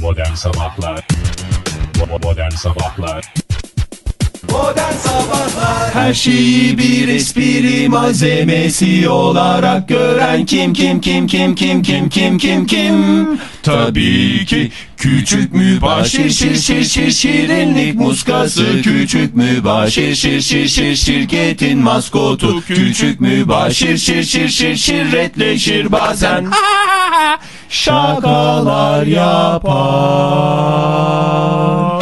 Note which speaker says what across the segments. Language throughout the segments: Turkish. Speaker 1: Modern Sabahlar Bo- Modern Sabahlar
Speaker 2: Her şeyi bir espri malzemesi olarak gören kim kim kim kim kim kim kim kim kim Tabii ki küçük mübaşir şir şir şir şirinlik muskası Küçük mübaşir şir şir şir şirketin maskotu Küçük mübaşir şir şir şir şirretleşir bazen Şakalar yapar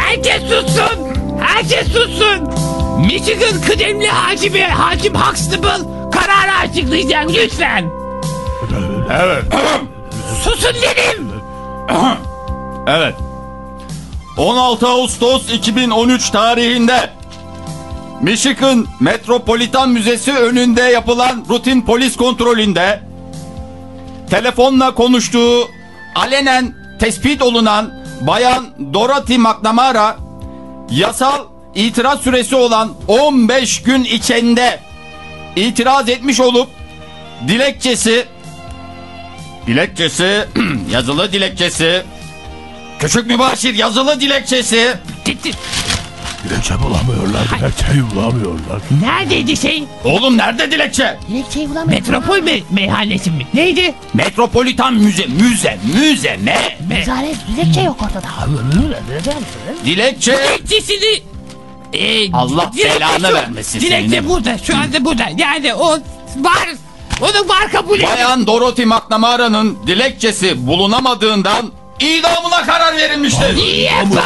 Speaker 3: Herkes sussun. Herkes sussun. Michigan kıdemli hakimi hakim Huxtable kararı açıklayacak lütfen. Evet. Susun dedim.
Speaker 2: Evet. 16 Ağustos 2013 tarihinde Michigan Metropolitan Müzesi önünde yapılan rutin polis kontrolünde telefonla konuştuğu alenen tespit olunan bayan Dorothy McNamara yasal itiraz süresi olan 15 gün içinde itiraz etmiş olup dilekçesi dilekçesi yazılı dilekçesi Küçük mübaşir yazılı dilekçesi.
Speaker 3: Gitti.
Speaker 4: Dilekçe bulamıyorlar, dilekçeyi bulamıyorlar.
Speaker 3: Neredeydi şey?
Speaker 2: Oğlum nerede dilekçe?
Speaker 3: Metropol me- meyhanesi mi? Neydi?
Speaker 2: Metropolitan müze, müze, müze ne?
Speaker 5: Müzare dilekçe yok ortada.
Speaker 2: Dilekçe.
Speaker 3: Dilekçesini Ee,
Speaker 2: Allah
Speaker 3: dilekçe
Speaker 2: belanı
Speaker 3: şu.
Speaker 2: vermesin
Speaker 3: Dilekçe
Speaker 2: senin.
Speaker 3: burada. Şu anda burada. Yani o var. Onu var kabul edin.
Speaker 2: Bayan Dorothy McNamara'nın dilekçesi bulunamadığından idamına karar verilmiştir.
Speaker 3: Yepa!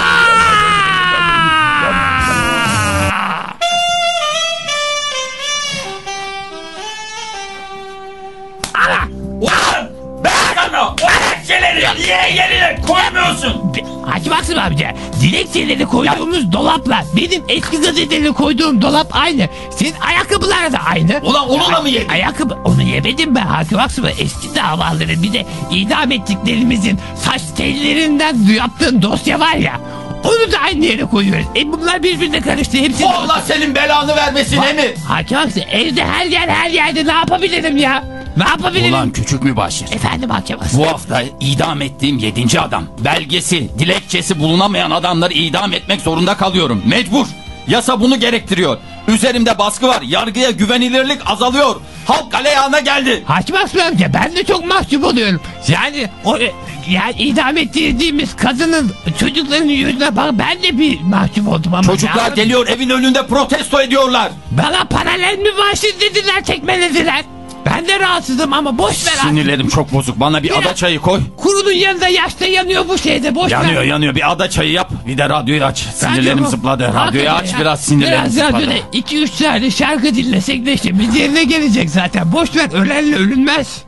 Speaker 3: Hakim Aksım amca, dilekçeleri koyduğumuz dolapla benim eski gazeteleri koyduğum dolap aynı. Senin ayakkabılar da aynı.
Speaker 2: Ulan onu da mı yedin?
Speaker 3: Ayakkabı, onu yemedim ben Hakim Aksım. Eski davaların bir de idam ettiklerimizin saç tellerinden yaptığın dosya var ya. Onu da aynı yere koyuyoruz. E bunlar birbirine karıştı. Hepsi
Speaker 2: Allah senin belanı vermesin emi.
Speaker 3: Hakim Aksım evde her yer her yerde ne yapabilirim ya? Ne yapabilirim?
Speaker 2: Ulan küçük mübaşir.
Speaker 3: Efendim Hakim Aksım.
Speaker 2: Bu hafta idam ettiğim yedinci adam. Belgesi, dilekçesi bulunamayan adamları idam etmek zorunda kalıyorum. Mecbur. Yasa bunu gerektiriyor. Üzerimde baskı var. Yargıya güvenilirlik azalıyor. Halk aleyhana geldi.
Speaker 3: Hakim Aslı amca ben de çok mahcup oluyorum. Yani o e, yani idam ettirdiğimiz kadının çocukların yüzüne bak ben de bir mahcup oldum ama.
Speaker 2: Çocuklar
Speaker 3: ya.
Speaker 2: geliyor evin önünde protesto ediyorlar.
Speaker 3: Bana paralel mi bahşiş dediler tekmelediler. Ben de rahatsızım ama boş ver artık.
Speaker 2: Sinirlerim çok bozuk. Bana bir
Speaker 3: Biraz-
Speaker 2: ada çayı koy.
Speaker 3: Kurunun yanında yaşta yanıyor bu şeyde boş ver.
Speaker 2: Yanıyor yanıyor. Bir ada çayı yap. Bir de radyoyu aç. Sinirlerim
Speaker 3: Radyo-
Speaker 2: zıpladı. Radyoyu
Speaker 3: Hakikaten
Speaker 2: aç
Speaker 3: ya.
Speaker 2: biraz sinirlerim
Speaker 3: Biraz
Speaker 2: zıpladı.
Speaker 3: radyoda 2-3 tane şarkı dinlesek neşemiz yerine gelecek zaten. Boş ver ölenle ölünmez.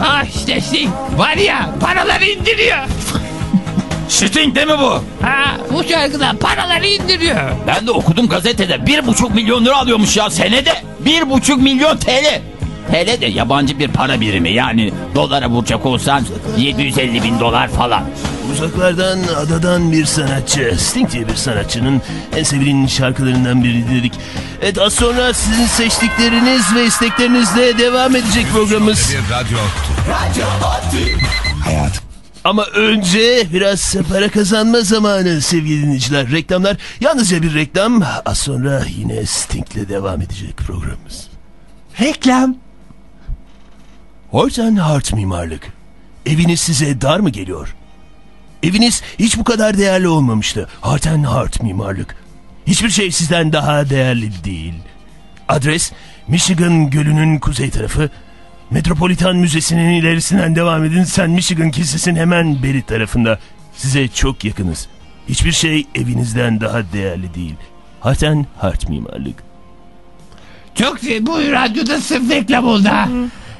Speaker 3: Ah işte şey var ya paraları indiriyor.
Speaker 2: Şiting değil mi bu?
Speaker 3: Ha bu şarkıdan paraları indiriyor.
Speaker 2: Ben de okudum gazetede bir buçuk milyon lira alıyormuş ya senede. Bir buçuk milyon TL. TL de yabancı bir para birimi yani dolara vuracak olsan 750 bin dolar falan.
Speaker 4: Uzaklardan, adadan bir sanatçı, Sting diye bir sanatçının en sevilen şarkılarından birini dedik. Evet az sonra sizin seçtikleriniz ve isteklerinizle devam edecek programımız. Ama önce biraz para kazanma zamanı sevgili dinleyiciler. Reklamlar yalnızca bir reklam. Az sonra yine Sting'le devam edecek programımız. Reklam. Horten Hart Mimarlık. Eviniz size dar mı geliyor? Eviniz hiç bu kadar değerli olmamıştı. Harten Hart Mimarlık. Hiçbir şey sizden daha değerli değil. Adres Michigan Gölü'nün kuzey tarafı. Metropolitan Müzesi'nin ilerisinden devam edin. Sen Michigan Kilisesi'nin hemen beri tarafında. Size çok yakınız. Hiçbir şey evinizden daha değerli değil. Harten Hart Mimarlık.
Speaker 3: Çok se- bu radyoda sırf reklam oldu ha.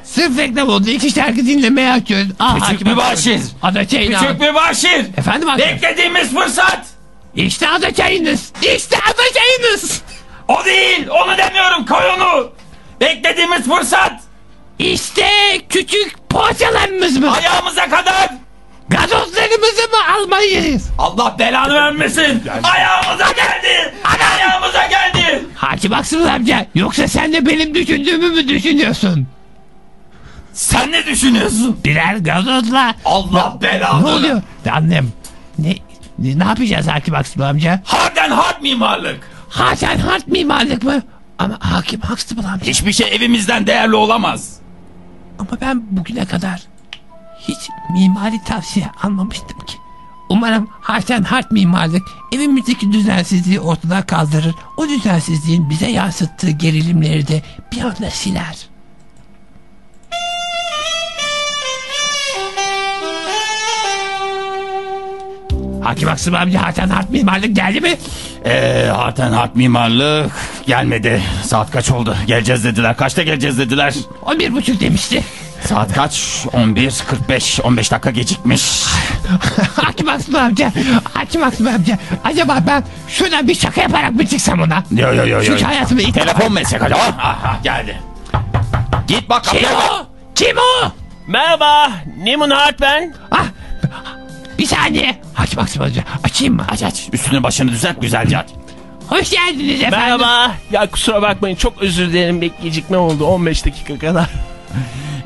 Speaker 3: Sırf reklam oldu. İki şarkı dinlemeye açıyoruz. Ah,
Speaker 2: Küçük
Speaker 3: Hakim
Speaker 2: mübaşir.
Speaker 3: Aksoy. Ada çayını al.
Speaker 2: Küçük bir başir.
Speaker 3: Efendim hakim.
Speaker 2: Beklediğimiz fırsat.
Speaker 3: İşte ada çayınız. İşte ada çayınız.
Speaker 2: O değil onu demiyorum koy onu. Beklediğimiz fırsat.
Speaker 3: İşte küçük poğaçalarımız mı?
Speaker 2: Ayağımıza kadar.
Speaker 3: Gazozlarımızı mı almalıyız?
Speaker 2: Allah belanı vermesin. Ayağımıza geldi. Ayağımıza geldi.
Speaker 3: Hakim Aksımız amca yoksa sen de benim düşündüğümü mü düşünüyorsun?
Speaker 2: Sen ne düşünüyorsun?
Speaker 3: Birer gazozla
Speaker 2: Allah belanı.
Speaker 3: ne oluyor? Annem ne, ne, ne yapacağız Hakim Aksım amca?
Speaker 2: Harden hard mimarlık.
Speaker 3: Hasan Hart mimarlık mı? Ama Hakim Huxtable amca.
Speaker 2: Hiçbir şey evimizden değerli olamaz.
Speaker 3: Ama ben bugüne kadar hiç mimari tavsiye almamıştım ki. Umarım Hasan Hart mimarlık evimizdeki düzensizliği ortadan kaldırır. O düzensizliğin bize yansıttığı gerilimleri de bir anda siler. Hakim Aksım amca Hasan Hart mimarlık geldi mi?
Speaker 2: Eee Harden hard mimarlık gelmedi. Saat kaç oldu? Geleceğiz dediler. Kaçta geleceğiz dediler?
Speaker 3: 11.30 demişti.
Speaker 2: Saat kaç? 11.45. 15 dakika gecikmiş.
Speaker 3: Hakim Aslı amca, Hakim Aslı amca. Acaba ben şuna bir şaka yaparak mı çıksam ona?
Speaker 2: Yo yo yo. yo.
Speaker 3: Çünkü hayatımda ilk defa-
Speaker 2: Telefon mu etsek acaba? Aha ah, geldi. Git bak
Speaker 3: Kim
Speaker 2: kapıya bak.
Speaker 3: o? Kim o?
Speaker 6: Merhaba, Nemun Hart ben.
Speaker 3: Ah, bir saniye. Hakim Aslı amca, açayım mı? Aç aç.
Speaker 2: Üstünü başını düzelt güzelce aç.
Speaker 3: Hoş geldiniz efendim.
Speaker 6: Merhaba. Ya kusura bakmayın çok özür dilerim. Bek gecikme oldu 15 dakika kadar.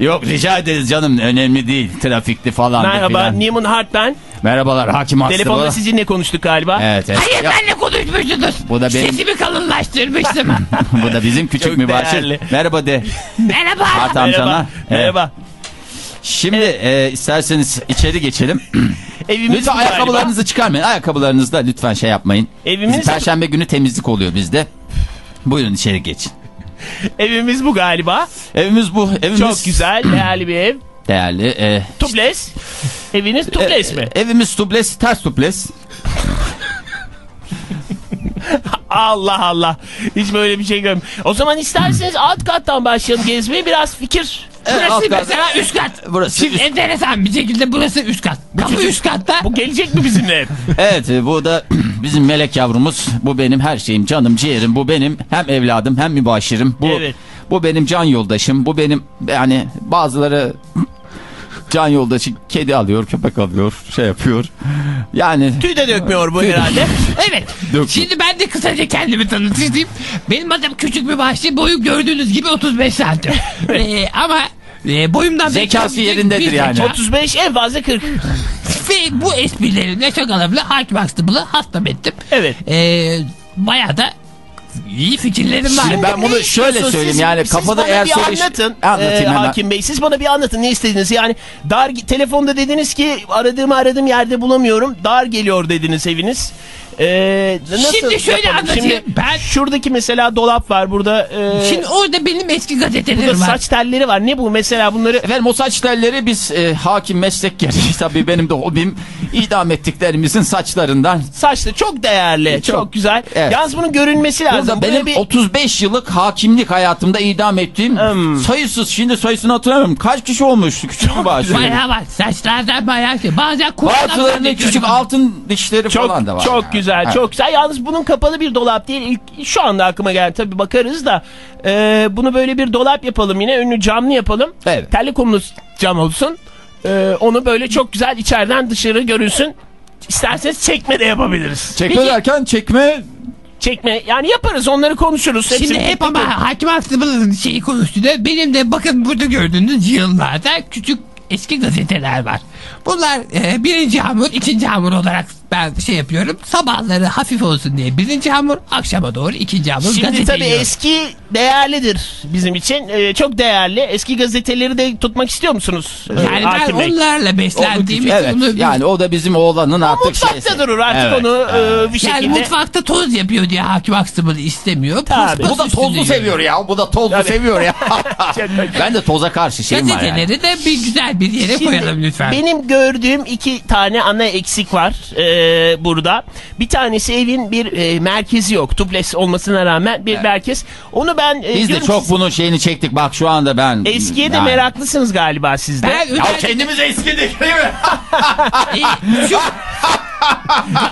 Speaker 2: Yok rica ederiz canım önemli değil. Trafikli falan.
Speaker 6: Merhaba,
Speaker 2: filan.
Speaker 6: Nemun Hart ben.
Speaker 2: Merhabalar hakim hastı.
Speaker 6: Telefonda
Speaker 2: bu.
Speaker 6: sizinle konuştuk galiba.
Speaker 2: Evet, evet.
Speaker 3: Hayır
Speaker 2: Yok,
Speaker 3: benle konuşmuşsunuz.
Speaker 2: Bu da benim-
Speaker 3: Sesimi kalınlaştırmıştım.
Speaker 2: bu da bizim küçük
Speaker 6: Çok
Speaker 2: mübaşir.
Speaker 6: değerli.
Speaker 2: Merhaba de.
Speaker 3: Merhaba.
Speaker 2: Hart amcana.
Speaker 6: Merhaba.
Speaker 2: Evet.
Speaker 6: Merhaba.
Speaker 2: Şimdi e, isterseniz içeri geçelim.
Speaker 6: Evimiz
Speaker 2: lütfen
Speaker 6: galiba.
Speaker 2: ayakkabılarınızı çıkarmayın. Ayakkabılarınızda lütfen şey yapmayın.
Speaker 6: Evimiz-
Speaker 2: Bizim Perşembe günü temizlik oluyor bizde. Buyurun içeri geçin.
Speaker 6: Evimiz bu galiba.
Speaker 2: Evimiz bu. Evimiz
Speaker 6: Çok güzel, değerli bir ev.
Speaker 2: Değerli. E,
Speaker 6: Tuples. Eviniz tuples mi?
Speaker 2: Evimiz tuples, ters tuples.
Speaker 6: Allah Allah. Hiç böyle bir şey görmedim. O zaman isterseniz alt kattan başlayalım gezmeye. Biraz fikir.
Speaker 2: alt
Speaker 3: Burası
Speaker 2: kat.
Speaker 3: mesela üst kat.
Speaker 2: Burası
Speaker 3: Şimdi
Speaker 2: üst-
Speaker 3: enteresan bir şekilde burası üst kat. Kapı üst katta.
Speaker 6: Bu gelecek mi bizimle ev?
Speaker 2: Evet e, bu da bizim melek yavrumuz. Bu benim her şeyim canım ciğerim. Bu benim hem evladım hem mübaşirim. Bu,
Speaker 6: Evet.
Speaker 2: bu benim can yoldaşım. Bu benim yani bazıları can yoldaşı kedi alıyor köpek alıyor şey yapıyor. Yani
Speaker 6: Tüy de dökmüyor bu herhalde.
Speaker 3: Evet.
Speaker 2: Dök.
Speaker 3: Şimdi ben de kısaca kendimi tanıtayım. Benim adım küçük bir bahçe. Boyum gördüğünüz gibi 35 santim. Ee, ama e, boyumdan
Speaker 2: Zekası
Speaker 3: beklenmeyecek
Speaker 2: yerindedir
Speaker 3: bir
Speaker 2: yani.
Speaker 3: zeka.
Speaker 6: 35 en fazla 40.
Speaker 3: Ve bu esprilerimle şakalarımla hakim hastamını hastam ettim.
Speaker 6: Evet.
Speaker 3: Ee, bayağı da iyi fikirlerim var.
Speaker 2: Şimdi ben bunu şöyle
Speaker 6: Siz-
Speaker 2: söyleyeyim yani
Speaker 6: siz
Speaker 2: kafada
Speaker 6: bana
Speaker 2: eğer
Speaker 6: bir
Speaker 2: soru
Speaker 6: anlatın.
Speaker 2: anlatayım
Speaker 6: Ee,
Speaker 2: hemen.
Speaker 6: Hakim Bey siz bana bir anlatın ne istediğiniz yani dar telefonda dediniz ki aradığımı aradığım yerde bulamıyorum dar geliyor dediniz eviniz. Ee, nasıl
Speaker 3: Şimdi şöyle
Speaker 6: yapalım?
Speaker 3: anlatayım. Ben-
Speaker 6: şuradaki mesela dolap var burada. ee,
Speaker 3: Şimdi orada benim eski
Speaker 6: burada
Speaker 3: gazetelerim var.
Speaker 6: saç telleri var ne bu mesela bunları
Speaker 2: Efendim o saç telleri biz e, hakim meslek gereği tabii benim de hobim idam ettiklerimizin saçlarından.
Speaker 6: saçlı çok değerli çok,
Speaker 2: Çok.
Speaker 6: güzel.
Speaker 2: Evet.
Speaker 6: Yalnız bunun görünmesi lazım.
Speaker 2: Burada
Speaker 6: Buraya
Speaker 2: benim
Speaker 6: bir-
Speaker 2: 35 yıllık hakimlik hayatımda idam ettiğim
Speaker 6: Hmm.
Speaker 2: sayısız şimdi sayısını hatırlamıyorum. Kaç kişi olmuştu küçük mübaşir?
Speaker 3: Bayağı var. Saçlardan bayağı şey. Bazen
Speaker 2: Bazılarının küçük altın dişleri falan
Speaker 6: Çok
Speaker 2: da var.
Speaker 6: çok
Speaker 2: yani.
Speaker 6: güzel,
Speaker 2: Evet.
Speaker 6: çok güzel. Yalnız bunun kapalı bir dolap değil. İlk, şu anda aklıma geldi tabii bakarız da. Ee, bunu böyle bir dolap yapalım yine. Önünü camlı yapalım.
Speaker 2: Evet.
Speaker 6: Telli kumlu cam olsun. Ee, onu böyle çok güzel içeriden dışarı görünsün. İsterseniz çekme de yapabiliriz.
Speaker 2: Çekme derken çekme
Speaker 6: Çekme yani yaparız onları konuşuruz.
Speaker 3: Şimdi
Speaker 6: Hepsini-
Speaker 3: hep ama hakim hastabalığın şeyi konusunda benim de bakın burada gördüğünüz yıllarda küçük eski gazeteler var. Bunlar e, birinci hamur, ikinci hamur olarak ben şey yapıyorum. Sabahları hafif olsun diye birinci hamur, akşama doğru ikinci hamur
Speaker 6: Şimdi
Speaker 3: gazete
Speaker 6: tabii
Speaker 3: yiyorum.
Speaker 6: eski değerlidir bizim için. Ee, çok değerli. Eski gazeteleri de tutmak istiyor musunuz?
Speaker 3: Yani ben
Speaker 6: Hakim Bey?
Speaker 3: onlarla
Speaker 2: Onu
Speaker 3: beslendiğim
Speaker 2: küçük-
Speaker 3: için
Speaker 2: Evet.
Speaker 3: onu-
Speaker 2: Yani o da bizim oğlanın artık
Speaker 6: Mutfakta durur artık
Speaker 2: Evet,
Speaker 6: onu e, bir şekilde.
Speaker 3: yani mutfakta toz yapıyor diye hakim hastabalığı istemiyor. Pas
Speaker 6: Tabii.
Speaker 3: pas
Speaker 2: Bu da
Speaker 3: üstünde
Speaker 2: tozlu
Speaker 3: yiyor.
Speaker 2: seviyor ya. Bu da tozlu seviyor ya. ben de toza karşı şeyim var yani.
Speaker 3: Gazeteleri de bir güzel bir yere
Speaker 6: Şimdi
Speaker 3: koyalım lütfen.
Speaker 6: Benim gördüğüm iki tane ana eksik var e, burada. Bir tanesi evin bir e, merkezi yok. Tuples olmasına rağmen bir merkez. Onu ben... e,
Speaker 2: Biz de
Speaker 6: diyorum
Speaker 2: çok
Speaker 6: ki
Speaker 2: bunun şeyini çektik bak şu anda ben.
Speaker 6: Eskiye de
Speaker 2: Yani.
Speaker 6: meraklısınız galiba siz de.
Speaker 3: Ben
Speaker 2: Ya
Speaker 3: özellikle-
Speaker 2: kendimiz eskidik değil mi?
Speaker 3: E, şu,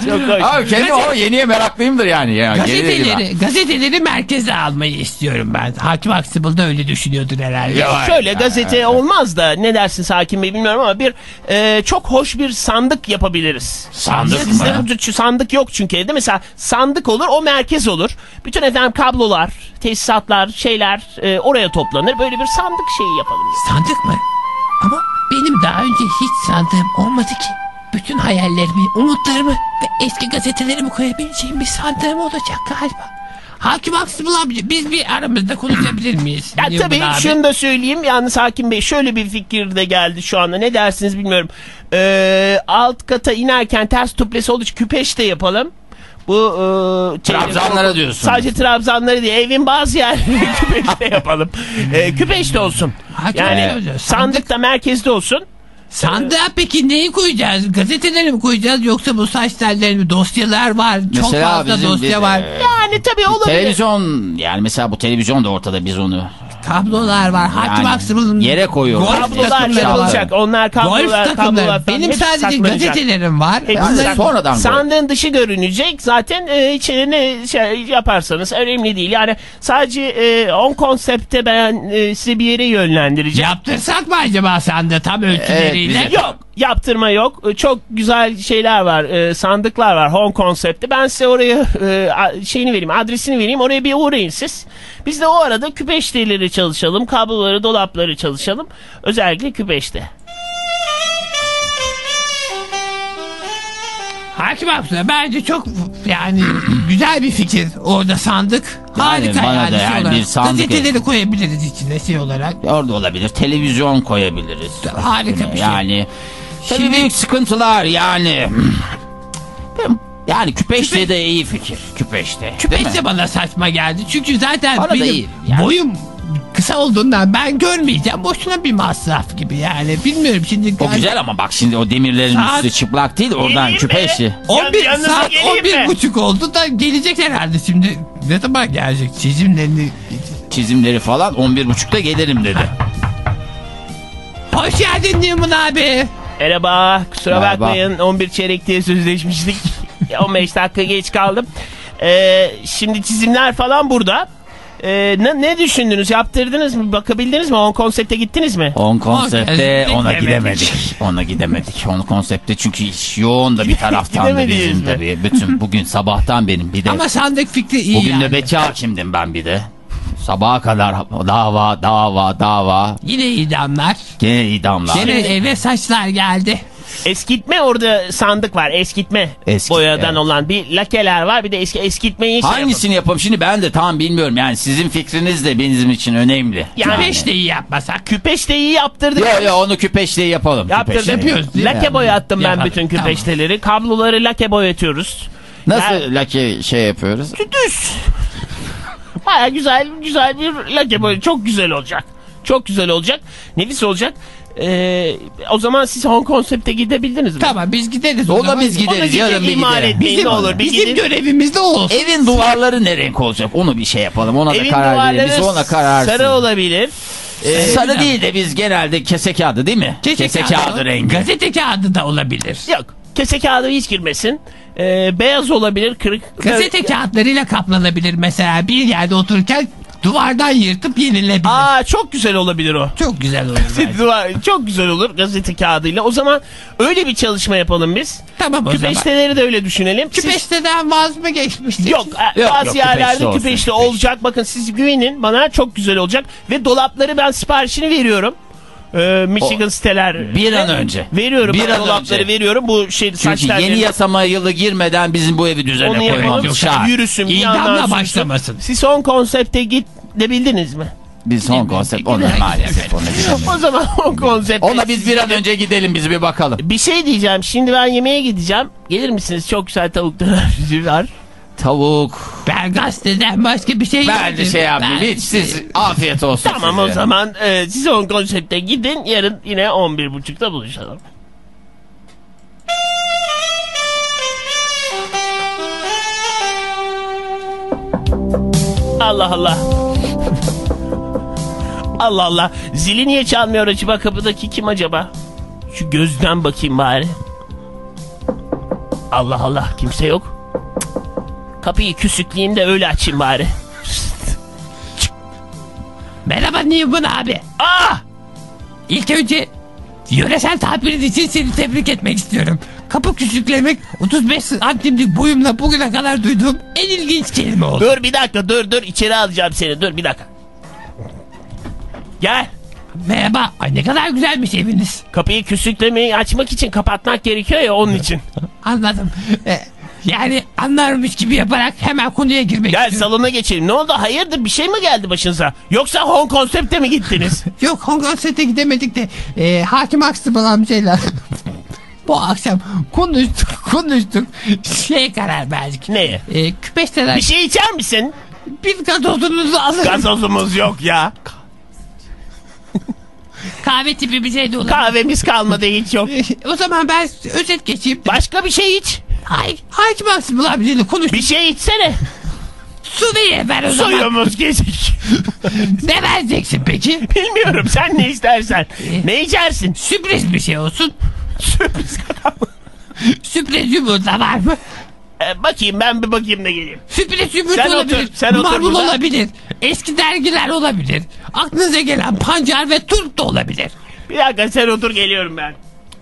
Speaker 6: Çok hoş.
Speaker 2: Abi kendi o yeniye meraklıyımdır yani. Ya, yeni dedim
Speaker 3: Gazeteleri, gazeteleri merkeze almayı istiyorum ben. Hakim Aksibıl da öyle düşünüyordur herhalde.
Speaker 2: Ya. Vay.
Speaker 6: Şöyle gazete olmaz da ne dersiniz hakim bey bilmiyorum ama bir e, çok hoş bir sandık yapabiliriz.
Speaker 3: Sandık
Speaker 6: Sizde
Speaker 3: mı?
Speaker 6: bu tür sandık yok çünkü evde mesela sandık olur o merkez olur. Bütün efendim kablolar, tesisatlar, şeyler e, oraya toplanır. Böyle bir sandık şeyi yapalım.
Speaker 3: Sandık mı? Ama benim daha önce hiç sandığım olmadı ki. Bütün hayallerimi, umutlarımı ve eski gazetelerimi koyabileceğim bir sandığım olacak galiba. Hakim Aksibıl amca biz bir aramızda konuşabilir miyiz?
Speaker 6: Ya
Speaker 3: Yılmaz
Speaker 6: tabii
Speaker 3: abi?
Speaker 6: şunu da söyleyeyim yalnız Hakim Bey şöyle bir fikir de geldi şu anda ne dersiniz bilmiyorum. Ee, alt kata inerken ters tuplesi olduğu için küpeş de yapalım. Bu e, şey-
Speaker 2: Trabzanlara diyorsun.
Speaker 6: Sadece trabzanları değil evin bazı yerleri küpeş de yapalım. Ee, küpeş de olsun.
Speaker 3: Hakim Bey
Speaker 6: Yani
Speaker 3: hocam,
Speaker 6: sandık da merkezde olsun.
Speaker 3: Sandığa peki neyi koyacağız? Gazeteleri mi koyacağız yoksa bu saç telleri mi? Dosyalar var. Çok
Speaker 2: Mesela
Speaker 3: fazla
Speaker 2: bizim
Speaker 3: dosya
Speaker 2: bir-
Speaker 3: var.
Speaker 6: Yani tabii olabilir.
Speaker 2: Televizyon yani mesela bu televizyon da ortada biz onu.
Speaker 3: Kablolar var. Hakim
Speaker 2: Yani
Speaker 3: Aksibıl'ın
Speaker 2: yere koyuyoruz.
Speaker 3: golf
Speaker 6: Kablolar
Speaker 3: takımları var.
Speaker 6: yapılacak. Onlar kablolar,
Speaker 3: Golf
Speaker 6: kablolar
Speaker 3: takımları.
Speaker 6: falan
Speaker 3: Benim
Speaker 6: hepsi
Speaker 3: sadece
Speaker 6: saklanacak.
Speaker 3: gazetelerim var.
Speaker 6: Hepsi
Speaker 2: Yani
Speaker 6: saklı.
Speaker 2: sonradan böyle.
Speaker 6: Sandığın dışı görünecek. Zaten e, içine şey yaparsanız önemli değil. Yani sadece e, on konsepte ben e, sizi bir yere yönlendireceğim.
Speaker 3: Yaptırsak mı acaba sende tam ölçüleriyle?
Speaker 2: Evet, bize-
Speaker 6: Yok yaptırma yok. E, Çok güzel şeyler var. e, sandıklar var home konsepti. Ben size oraya e, a- şeyini vereyim, adresini vereyim. Oraya bir uğrayın siz. Biz de o arada küpeşteleri çalışalım. Kabloları, dolapları çalışalım. Özellikle küpeşte.
Speaker 3: Hakim Aksu'ya bence çok yani güzel bir fikir. Orada sandık. Harika
Speaker 2: bana
Speaker 3: yani,
Speaker 2: da
Speaker 3: şey
Speaker 2: yani
Speaker 3: olarak.
Speaker 2: bir sandık-
Speaker 3: Gazeteleri koyabiliriz içine şey olarak.
Speaker 2: Orada olabilir. Televizyon koyabiliriz.
Speaker 3: Harika bir şey.
Speaker 2: Yani. Tabii
Speaker 3: Şimdi-
Speaker 2: büyük sıkıntılar yani. Ben- Yani küpeşte de iyi fikir. Küpeşte.
Speaker 3: Küpeş de bana saçma geldi. Çünkü zaten
Speaker 2: Bana da
Speaker 3: benim
Speaker 2: iyi yani.
Speaker 3: boyum kısa olduğundan ben görmeyeceğim. Boşuna bir masraf gibi yani. Bilmiyorum şimdi.
Speaker 2: O güzel ama bak şimdi o demirlerin
Speaker 3: Saat-
Speaker 2: üstü çıplak değil oradan
Speaker 6: Geleyim mi?
Speaker 2: küpeşli.
Speaker 3: 11
Speaker 6: Yan- yanınıza
Speaker 3: saat
Speaker 6: geleyim
Speaker 3: 11
Speaker 6: mi?
Speaker 3: buçuk oldu da gelecek herhalde şimdi. Ne zaman gelecek? Çizimlerini...
Speaker 2: Çizimleri falan 11.30'da gelirim dedi.
Speaker 3: Hoş geldin Newman abi.
Speaker 6: Merhaba, kusura
Speaker 2: Merhaba.
Speaker 6: bakmayın 11 çeyrek diye sözleşmiştik. 15 dakika geç kaldım. Ee, şimdi çizimler falan burada. Ee, ne, ne düşündünüz? Yaptırdınız mı? Bakabildiniz mi? On konsepte gittiniz mi?
Speaker 2: On konsepte
Speaker 3: Okey.
Speaker 2: ona
Speaker 3: Gidemedik.
Speaker 2: gidemedik. Ona gidemedik. On konsepte çünkü iş yoğun da bir taraftan da
Speaker 6: Gidemediniz
Speaker 2: bizim
Speaker 6: mi?
Speaker 2: tabii. Bütün bugün sabahtan benim bir de.
Speaker 3: Ama sandık fikri iyi
Speaker 2: bugün
Speaker 3: yani.
Speaker 2: nöbetçi hakimdim ben bir de. Sabaha kadar dava dava dava.
Speaker 3: Yine idamlar.
Speaker 2: Gene idamlar.
Speaker 3: Gene şey eve saçlar geldi.
Speaker 6: Eskitme orada sandık var. Eskitme.
Speaker 2: Eskitme,
Speaker 6: Boyadan
Speaker 2: evet.
Speaker 6: olan bir lakeler var. Bir de eski eskitmeyi şey yapın.
Speaker 2: Hangisini yapalım şimdi ben de tam bilmiyorum. Yani sizin fikriniz de bizim için önemli.
Speaker 6: Yani-
Speaker 3: Küpeş de iyi yapmasak.
Speaker 6: Küpeşteyi yaptırdık.
Speaker 2: Yo yo onu küpeşle yapalım.
Speaker 6: Yaptırdık.
Speaker 2: küpeşle.
Speaker 3: Yapıyoruz değil mi?
Speaker 6: Lake boyattım ben
Speaker 3: Yapalım.
Speaker 6: bütün
Speaker 3: Tamam.
Speaker 6: küpeşteleri. Kabloları lake boyatıyoruz.
Speaker 2: Nasıl
Speaker 6: Ya-
Speaker 2: lake şey yapıyoruz?
Speaker 6: düz. Baya güzel güzel bir lake böyle çok güzel olacak. Çok güzel olacak. Nefis olacak. Ee, o zaman siz Hong Konsept'e gidebildiniz mi?
Speaker 3: Tamam biz gideriz. o
Speaker 2: Ona
Speaker 3: zaman.
Speaker 2: biz gideriz
Speaker 6: gidin,
Speaker 2: yarın bir
Speaker 6: imal
Speaker 2: gidelim.
Speaker 6: etmeyin, ne olur bir
Speaker 3: Bizim
Speaker 6: gidin.
Speaker 3: görevimiz de o olsun.
Speaker 2: Evin duvarları ne renk olacak? Onu bir şey yapalım. Ona da
Speaker 6: Evin
Speaker 2: karar verelim. Biz
Speaker 6: duvarları
Speaker 2: ona karar
Speaker 6: sarı olabilir.
Speaker 2: Ee, sarı değil de biz genelde kese kağıdı değil mi? Kese, kağıdı, rengi.
Speaker 3: Gazete kağıdı da olabilir.
Speaker 6: Yok. Kese kağıdı hiç girmesin. Ee, beyaz olabilir kırık.
Speaker 3: Gazete kağıtlarıyla kaplanabilir mesela. Bir yerde otururken duvardan yırtıp yenilebilir.
Speaker 6: Aa çok güzel olabilir o.
Speaker 3: Çok güzel olur. bence.
Speaker 6: Duvar- çok güzel olur gazete kağıdıyla. O zaman öyle bir çalışma yapalım biz.
Speaker 3: tamam o zaman.
Speaker 6: Küpeşteleri de öyle düşünelim. Siz-
Speaker 3: Küpeşteden vaz mı geçmiştik?
Speaker 6: Yok, e,
Speaker 2: Yok,
Speaker 6: bazı
Speaker 2: yok, küpeşli
Speaker 6: yerlerde
Speaker 2: olsun,
Speaker 6: küpeşli
Speaker 2: küpeşli.
Speaker 6: olacak. Bakın siz güvenin bana çok güzel olacak. Ve dolapları ben siparişini veriyorum. Ee, Michigan siteler.
Speaker 2: bir an önce.
Speaker 6: Veriyorum.
Speaker 2: Bir
Speaker 6: ben
Speaker 2: an
Speaker 6: dolapları
Speaker 2: önce.
Speaker 6: veriyorum. Bu şey saç
Speaker 2: Çünkü yeni
Speaker 6: tellerini-
Speaker 2: yasama yılı girmeden bizim bu evi düzene
Speaker 6: onu yapalım.
Speaker 2: koymamız şart.
Speaker 6: Yürüsün. bir yandan
Speaker 3: İdamla
Speaker 6: sürsün.
Speaker 3: başlamasın.
Speaker 6: Siz son konsepte git debildiniz mi?
Speaker 2: Biz son konsept ona maalesef ona gidelim.
Speaker 6: O zaman o konsepte.
Speaker 2: Ona biz bir an önce gidelim biz bir bakalım.
Speaker 6: Bir şey diyeceğim. Şimdi ben yemeğe gideceğim. Gelir misiniz? Çok güzel tavuk dönerci var.
Speaker 2: Tavuk.
Speaker 3: Ben gazeteden başka bir şey
Speaker 2: Ben de
Speaker 3: yemedim.
Speaker 2: şey yapmayayım.
Speaker 3: Ben-
Speaker 2: Hiç siz afiyet olsun
Speaker 6: Tamam
Speaker 2: size.
Speaker 6: o zaman e, siz on konsepte gidin. Yarın yine 11.30'da buluşalım. Allah Allah. Allah Allah. Zili niye çalmıyor acaba? Kapıdaki kim acaba? Şu gözden bakayım bari. Allah Allah kimse yok. Kapıyı küsükleyeyim de öyle açayım bari.
Speaker 3: Merhaba Newman abi.
Speaker 6: Aa!
Speaker 2: Ah!
Speaker 3: İlk önce yöresel tabirin için seni tebrik etmek istiyorum. Kapı küçüklemek 35 santimlik boyumla bugüne kadar duyduğum en ilginç kelime oldu.
Speaker 6: Dur bir dakika dur dur içeri alacağım seni dur bir dakika. Gel.
Speaker 3: Merhaba. Ay ne kadar güzelmiş eviniz.
Speaker 6: Kapıyı küsüklemeyi açmak için kapatmak gerekiyor ya onun için.
Speaker 3: Anladım. E, yani anlarmış gibi yaparak hemen konuya girmek
Speaker 6: Gel
Speaker 3: istiyorum.
Speaker 6: salona geçelim. Ne oldu? Hayırdır bir şey mi geldi başınıza? Yoksa Hong konsepte mi gittiniz?
Speaker 3: Yok Hong Kong sete gidemedik de e, hakim Aksıbal amcayla bu akşam konuştuk konuştuk şey karar verdik.
Speaker 6: Neye?
Speaker 3: E, küpeşteler
Speaker 6: Bir şey içer misin?
Speaker 3: bir gazozunuzu alın.
Speaker 6: Gazozumuz yok ya.
Speaker 3: Kahve tipi bir şey de olur. E,
Speaker 6: Kahvemiz kalmadı hiç yok.
Speaker 3: o zaman ben özet geçeyim.
Speaker 6: Başka bir şey iç.
Speaker 3: Hay, hakim Aksıbal amcayla konuştuk.
Speaker 6: Bir şey içsene.
Speaker 3: Su diye ver o zaman.
Speaker 6: Suyumuz kesik.
Speaker 3: Ne vereceksin peki?
Speaker 6: Bilmiyorum sen ne istersen. Ne içersin?
Speaker 3: Sürpriz bir şey olsun.
Speaker 6: Sürpriz kadar mı?
Speaker 3: Sürpriz yumurta var mı?
Speaker 6: Ee, bakayım ben bir bakayım da geleyim.
Speaker 3: Sürpriz yumurta
Speaker 6: Sen otur,
Speaker 3: olabilir.
Speaker 6: sen otur
Speaker 3: Marul
Speaker 6: burada.
Speaker 3: olabilir. Eski dergiler olabilir. Aklınıza gelen pancar ve turp da olabilir.
Speaker 6: Bir dakika sen otur geliyorum ben.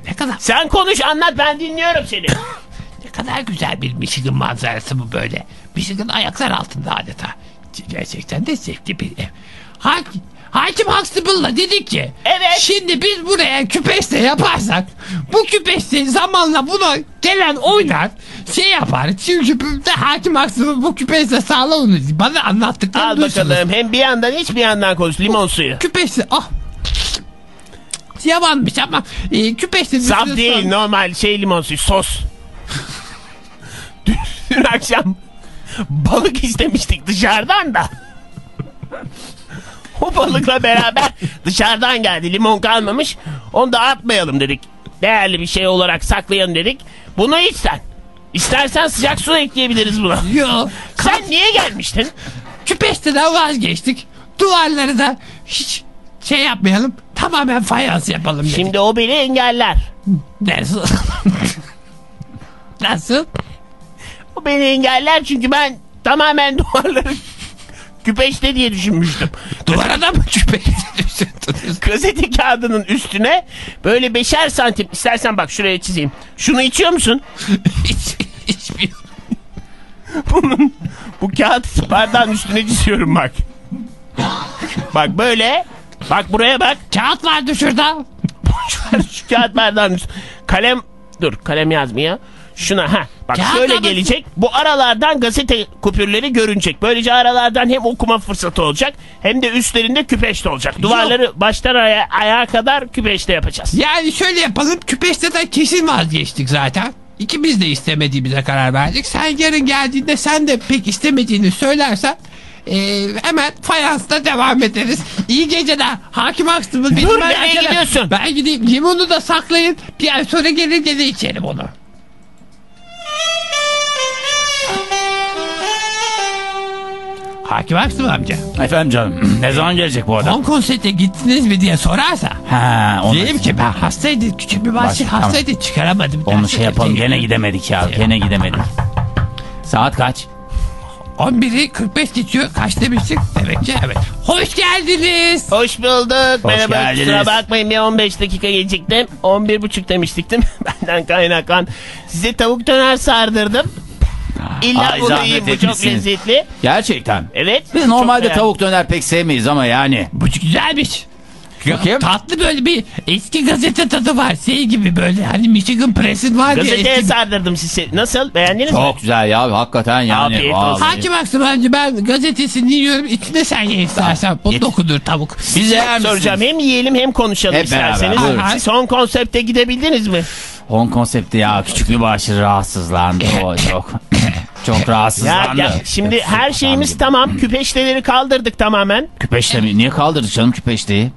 Speaker 3: Ne kadar
Speaker 6: Sen konuş anlat ben dinliyorum seni.
Speaker 3: ne kadar güzel bir Michigan manzarası bu böyle. Michigan ayaklar altında adeta. Gerçekten de zevkli bir ev. Hakim, Hakim Huxtable'la dedik ki
Speaker 6: Evet.
Speaker 3: şimdi biz buraya küpeşte yaparsak bu küpeşte zamanla buna gelen oynar şey yapar. Çünkü bu- Hakim Huxtable bu küpeşte sağlam olur. Bana anlattıklarını
Speaker 6: Al
Speaker 3: duysanız.
Speaker 6: bakalım hem bir yandan iç bir yandan konuş limon suyu.
Speaker 3: Küpesi ah. Yabanmış ama e, küpesi.
Speaker 6: Saf değil normal şey limon suyu sos. dün, dün akşam balık istemiştik dışarıdan da. o balıkla beraber dışarıdan geldi limon kalmamış. Onu da atmayalım dedik. Değerli bir şey olarak saklayalım dedik. Bunu iç sen. İstersen sıcak su ekleyebiliriz buna.
Speaker 3: Yo.
Speaker 6: Sen niye gelmiştin?
Speaker 3: Küpesinden vazgeçtik. Duvarları da hiç şey yapmayalım. Tamamen fayans yapalım dedik.
Speaker 6: Şimdi o beni engeller.
Speaker 3: Nasıl? Nasıl?
Speaker 6: O beni engeller çünkü ben tamamen duvarları küpeşte diye düşünmüştüm.
Speaker 3: Duvara da mı küpesi düşürdünüz?
Speaker 6: Gazete kağıdının üstüne böyle beşer santim istersen bak şuraya çizeyim. Şunu içiyor musun?
Speaker 3: hiç, içmiyorum.
Speaker 6: Bunun bu kağıt bardağın üstüne çiziyorum bak. bak böyle. Bak buraya bak.
Speaker 3: Kağıt vardı şurada.
Speaker 6: Şu, şu kağıt bardağın üstüne. Kalem dur kalem yazmıyor. Şuna ha bak
Speaker 3: Kağıt
Speaker 6: şöyle
Speaker 3: tablası.
Speaker 6: gelecek. Bu aralardan gazete kupürleri görünecek. Böylece aralardan hem okuma fırsatı olacak hem de üstlerinde küpeşte olacak. Duvarları baştan aya- ayağa kadar küpeşte yapacağız.
Speaker 3: Yani şöyle yapalım. Küpeşteden kesin vazgeçtik zaten. İkimiz de istemediğimize karar verdik. Sen yarın geldiğinde sen de pek istemediğini söylersen eee, hemen fayansta devam ederiz. İyi geceler. Hakim Aksım'ın
Speaker 6: Dur, nereye gidiyorsun?
Speaker 3: Ben gideyim. Limonu da saklayın. Bir ay sonra gelir gene içelim onu. Hakim Aksım amca.
Speaker 7: Efendim canım ne zaman gelecek bu adam?
Speaker 3: Hong Kong sete gittiniz mi diye sorarsa.
Speaker 7: Ha, onu,
Speaker 3: Diyeyim ki ben hastaydı. Küçük bir başlık
Speaker 7: Başlık, tamam.
Speaker 3: hastaydı. Çıkaramadım.
Speaker 7: onu
Speaker 3: dersi
Speaker 7: şey yapalım
Speaker 3: gelecek.
Speaker 7: gene gidemedik ya gene gidemedik. Saat kaç?
Speaker 3: 11'i 45 geçiyor. Kaç demiştik? Demek ki evet. Hoş geldiniz.
Speaker 6: Hoş bulduk. Merhaba. Kusura
Speaker 7: geldiniz.
Speaker 6: bakmayın bir 15 dakika geciktim. 11.30 demiştik değil mi? Benden kaynaklan. Size tavuk döner sardırdım. İlla
Speaker 7: Ay,
Speaker 6: bunu
Speaker 7: zahmet
Speaker 6: yiyin bu çok
Speaker 7: etmişsiniz.
Speaker 6: lezzetli.
Speaker 2: Gerçekten.
Speaker 6: Evet.
Speaker 2: Biz
Speaker 6: çok
Speaker 2: normalde
Speaker 6: beğendim.
Speaker 2: tavuk döner pek sevmeyiz ama yani.
Speaker 3: Bu güzelmiş.
Speaker 2: Bakayım.
Speaker 3: Tatlı böyle bir eski gazete tadı var. Şey gibi böyle hani Michigan Press'in var diye.
Speaker 6: Gazeteye
Speaker 3: Eski...
Speaker 6: sardırdım sizi. Nasıl? Beğendiniz mi?
Speaker 2: Çok güzel ya hakikaten yani.
Speaker 6: Afiyet
Speaker 2: vallahi.
Speaker 6: olsun.
Speaker 3: Hakim Aksım bence ben gazetesini yiyorum. İçinde sen ye istersen. Bu dokudur tavuk.
Speaker 2: Bize
Speaker 6: Ben
Speaker 2: hem
Speaker 6: soracağım. Hem yiyelim hem konuşalım
Speaker 2: Hep beraber,
Speaker 6: isterseniz.
Speaker 2: buyurun.
Speaker 6: Son konsepte gidebildiniz mi?
Speaker 7: Hong konsepti ya küçüklü başı rahatsızlandı o çok. Çok
Speaker 6: Ya,
Speaker 7: rahatsızlandı.
Speaker 6: ya, şimdi her şeyimiz tamam. Küpeşteleri kaldırdık tamamen.
Speaker 7: Küpeşte mi? Niye kaldırdık canım küpeşteyi?